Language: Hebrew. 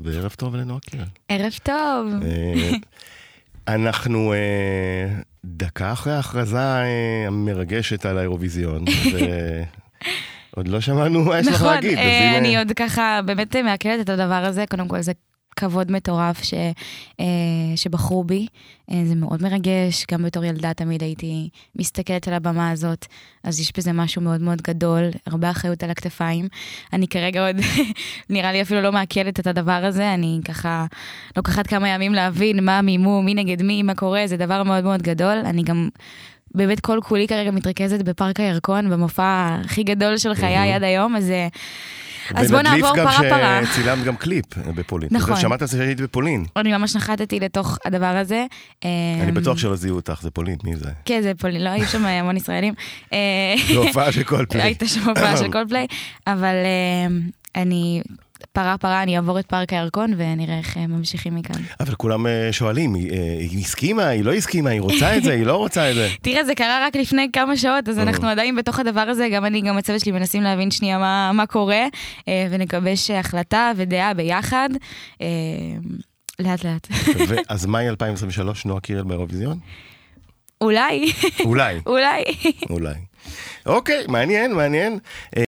וערב טוב לנועה קירל. ערב טוב. אה, אנחנו אה, דקה אחרי ההכרזה אה, המרגשת על האירוויזיון, ועוד לא שמענו מה יש לך נכון, להגיד. אז אה, הנה- אני עוד ככה באמת מעכלת את הדבר הזה. קודם כל, זה כבוד מטורף ש, אה, שבחרו בי. אה, זה מאוד מרגש. גם בתור ילדה תמיד הייתי מסתכלת על הבמה הזאת, אז יש בזה משהו מאוד מאוד גדול, הרבה אחריות על הכתפיים. אני כרגע עוד, נראה לי אפילו לא מעכלת את הדבר הזה. אני ככה לוקחת כמה ימים להבין מה מימו, מי נגד מי, מה קורה, זה דבר מאוד מאוד גדול. אני גם... באמת כל כולי כרגע מתרכזת בפארק הירקון, במופע הכי גדול של חיי עד היום, אז אה, אז בוא ונדליף נעבור גם פרה פרה. שצילמת גם קליפ אה, בפולין. נכון. אתה שמעת שהיית בפולין. אני ממש נחתתי לתוך הדבר הזה. אה, אמ, אני בטוח שלא זיהו אותך, זה פולין, מי זה? כן, זה פולין, לא, היו שם המון ישראלים. אה, זו הופעה של כל פולין. הייתה שם הופעה של קולפליי, אבל אה, אני פרה פרה, אני אעבור את פארק הירקון ונראה איך אה, ממשיכים מכאן. אבל כולם אה, שואלים, היא אה, היא הסכימה, היא לא הסכימה, היא רוצה את זה, היא לא רוצה את זה. תראה, זה קרה רק לפני כמה שעות, אז אנחנו עדיין בתוך הדבר הזה, גם אני, גם הצוות שלי מנסים להבין שנייה מה, מה קורה, אה, ונגבש אה, החלטה ודעה ביחד. אה, לאט לאט. ו- אז מאי 2023, נועה קירל באירוויזיון? אולי, אולי, אולי. אולי. אוקיי, מעניין, מעניין.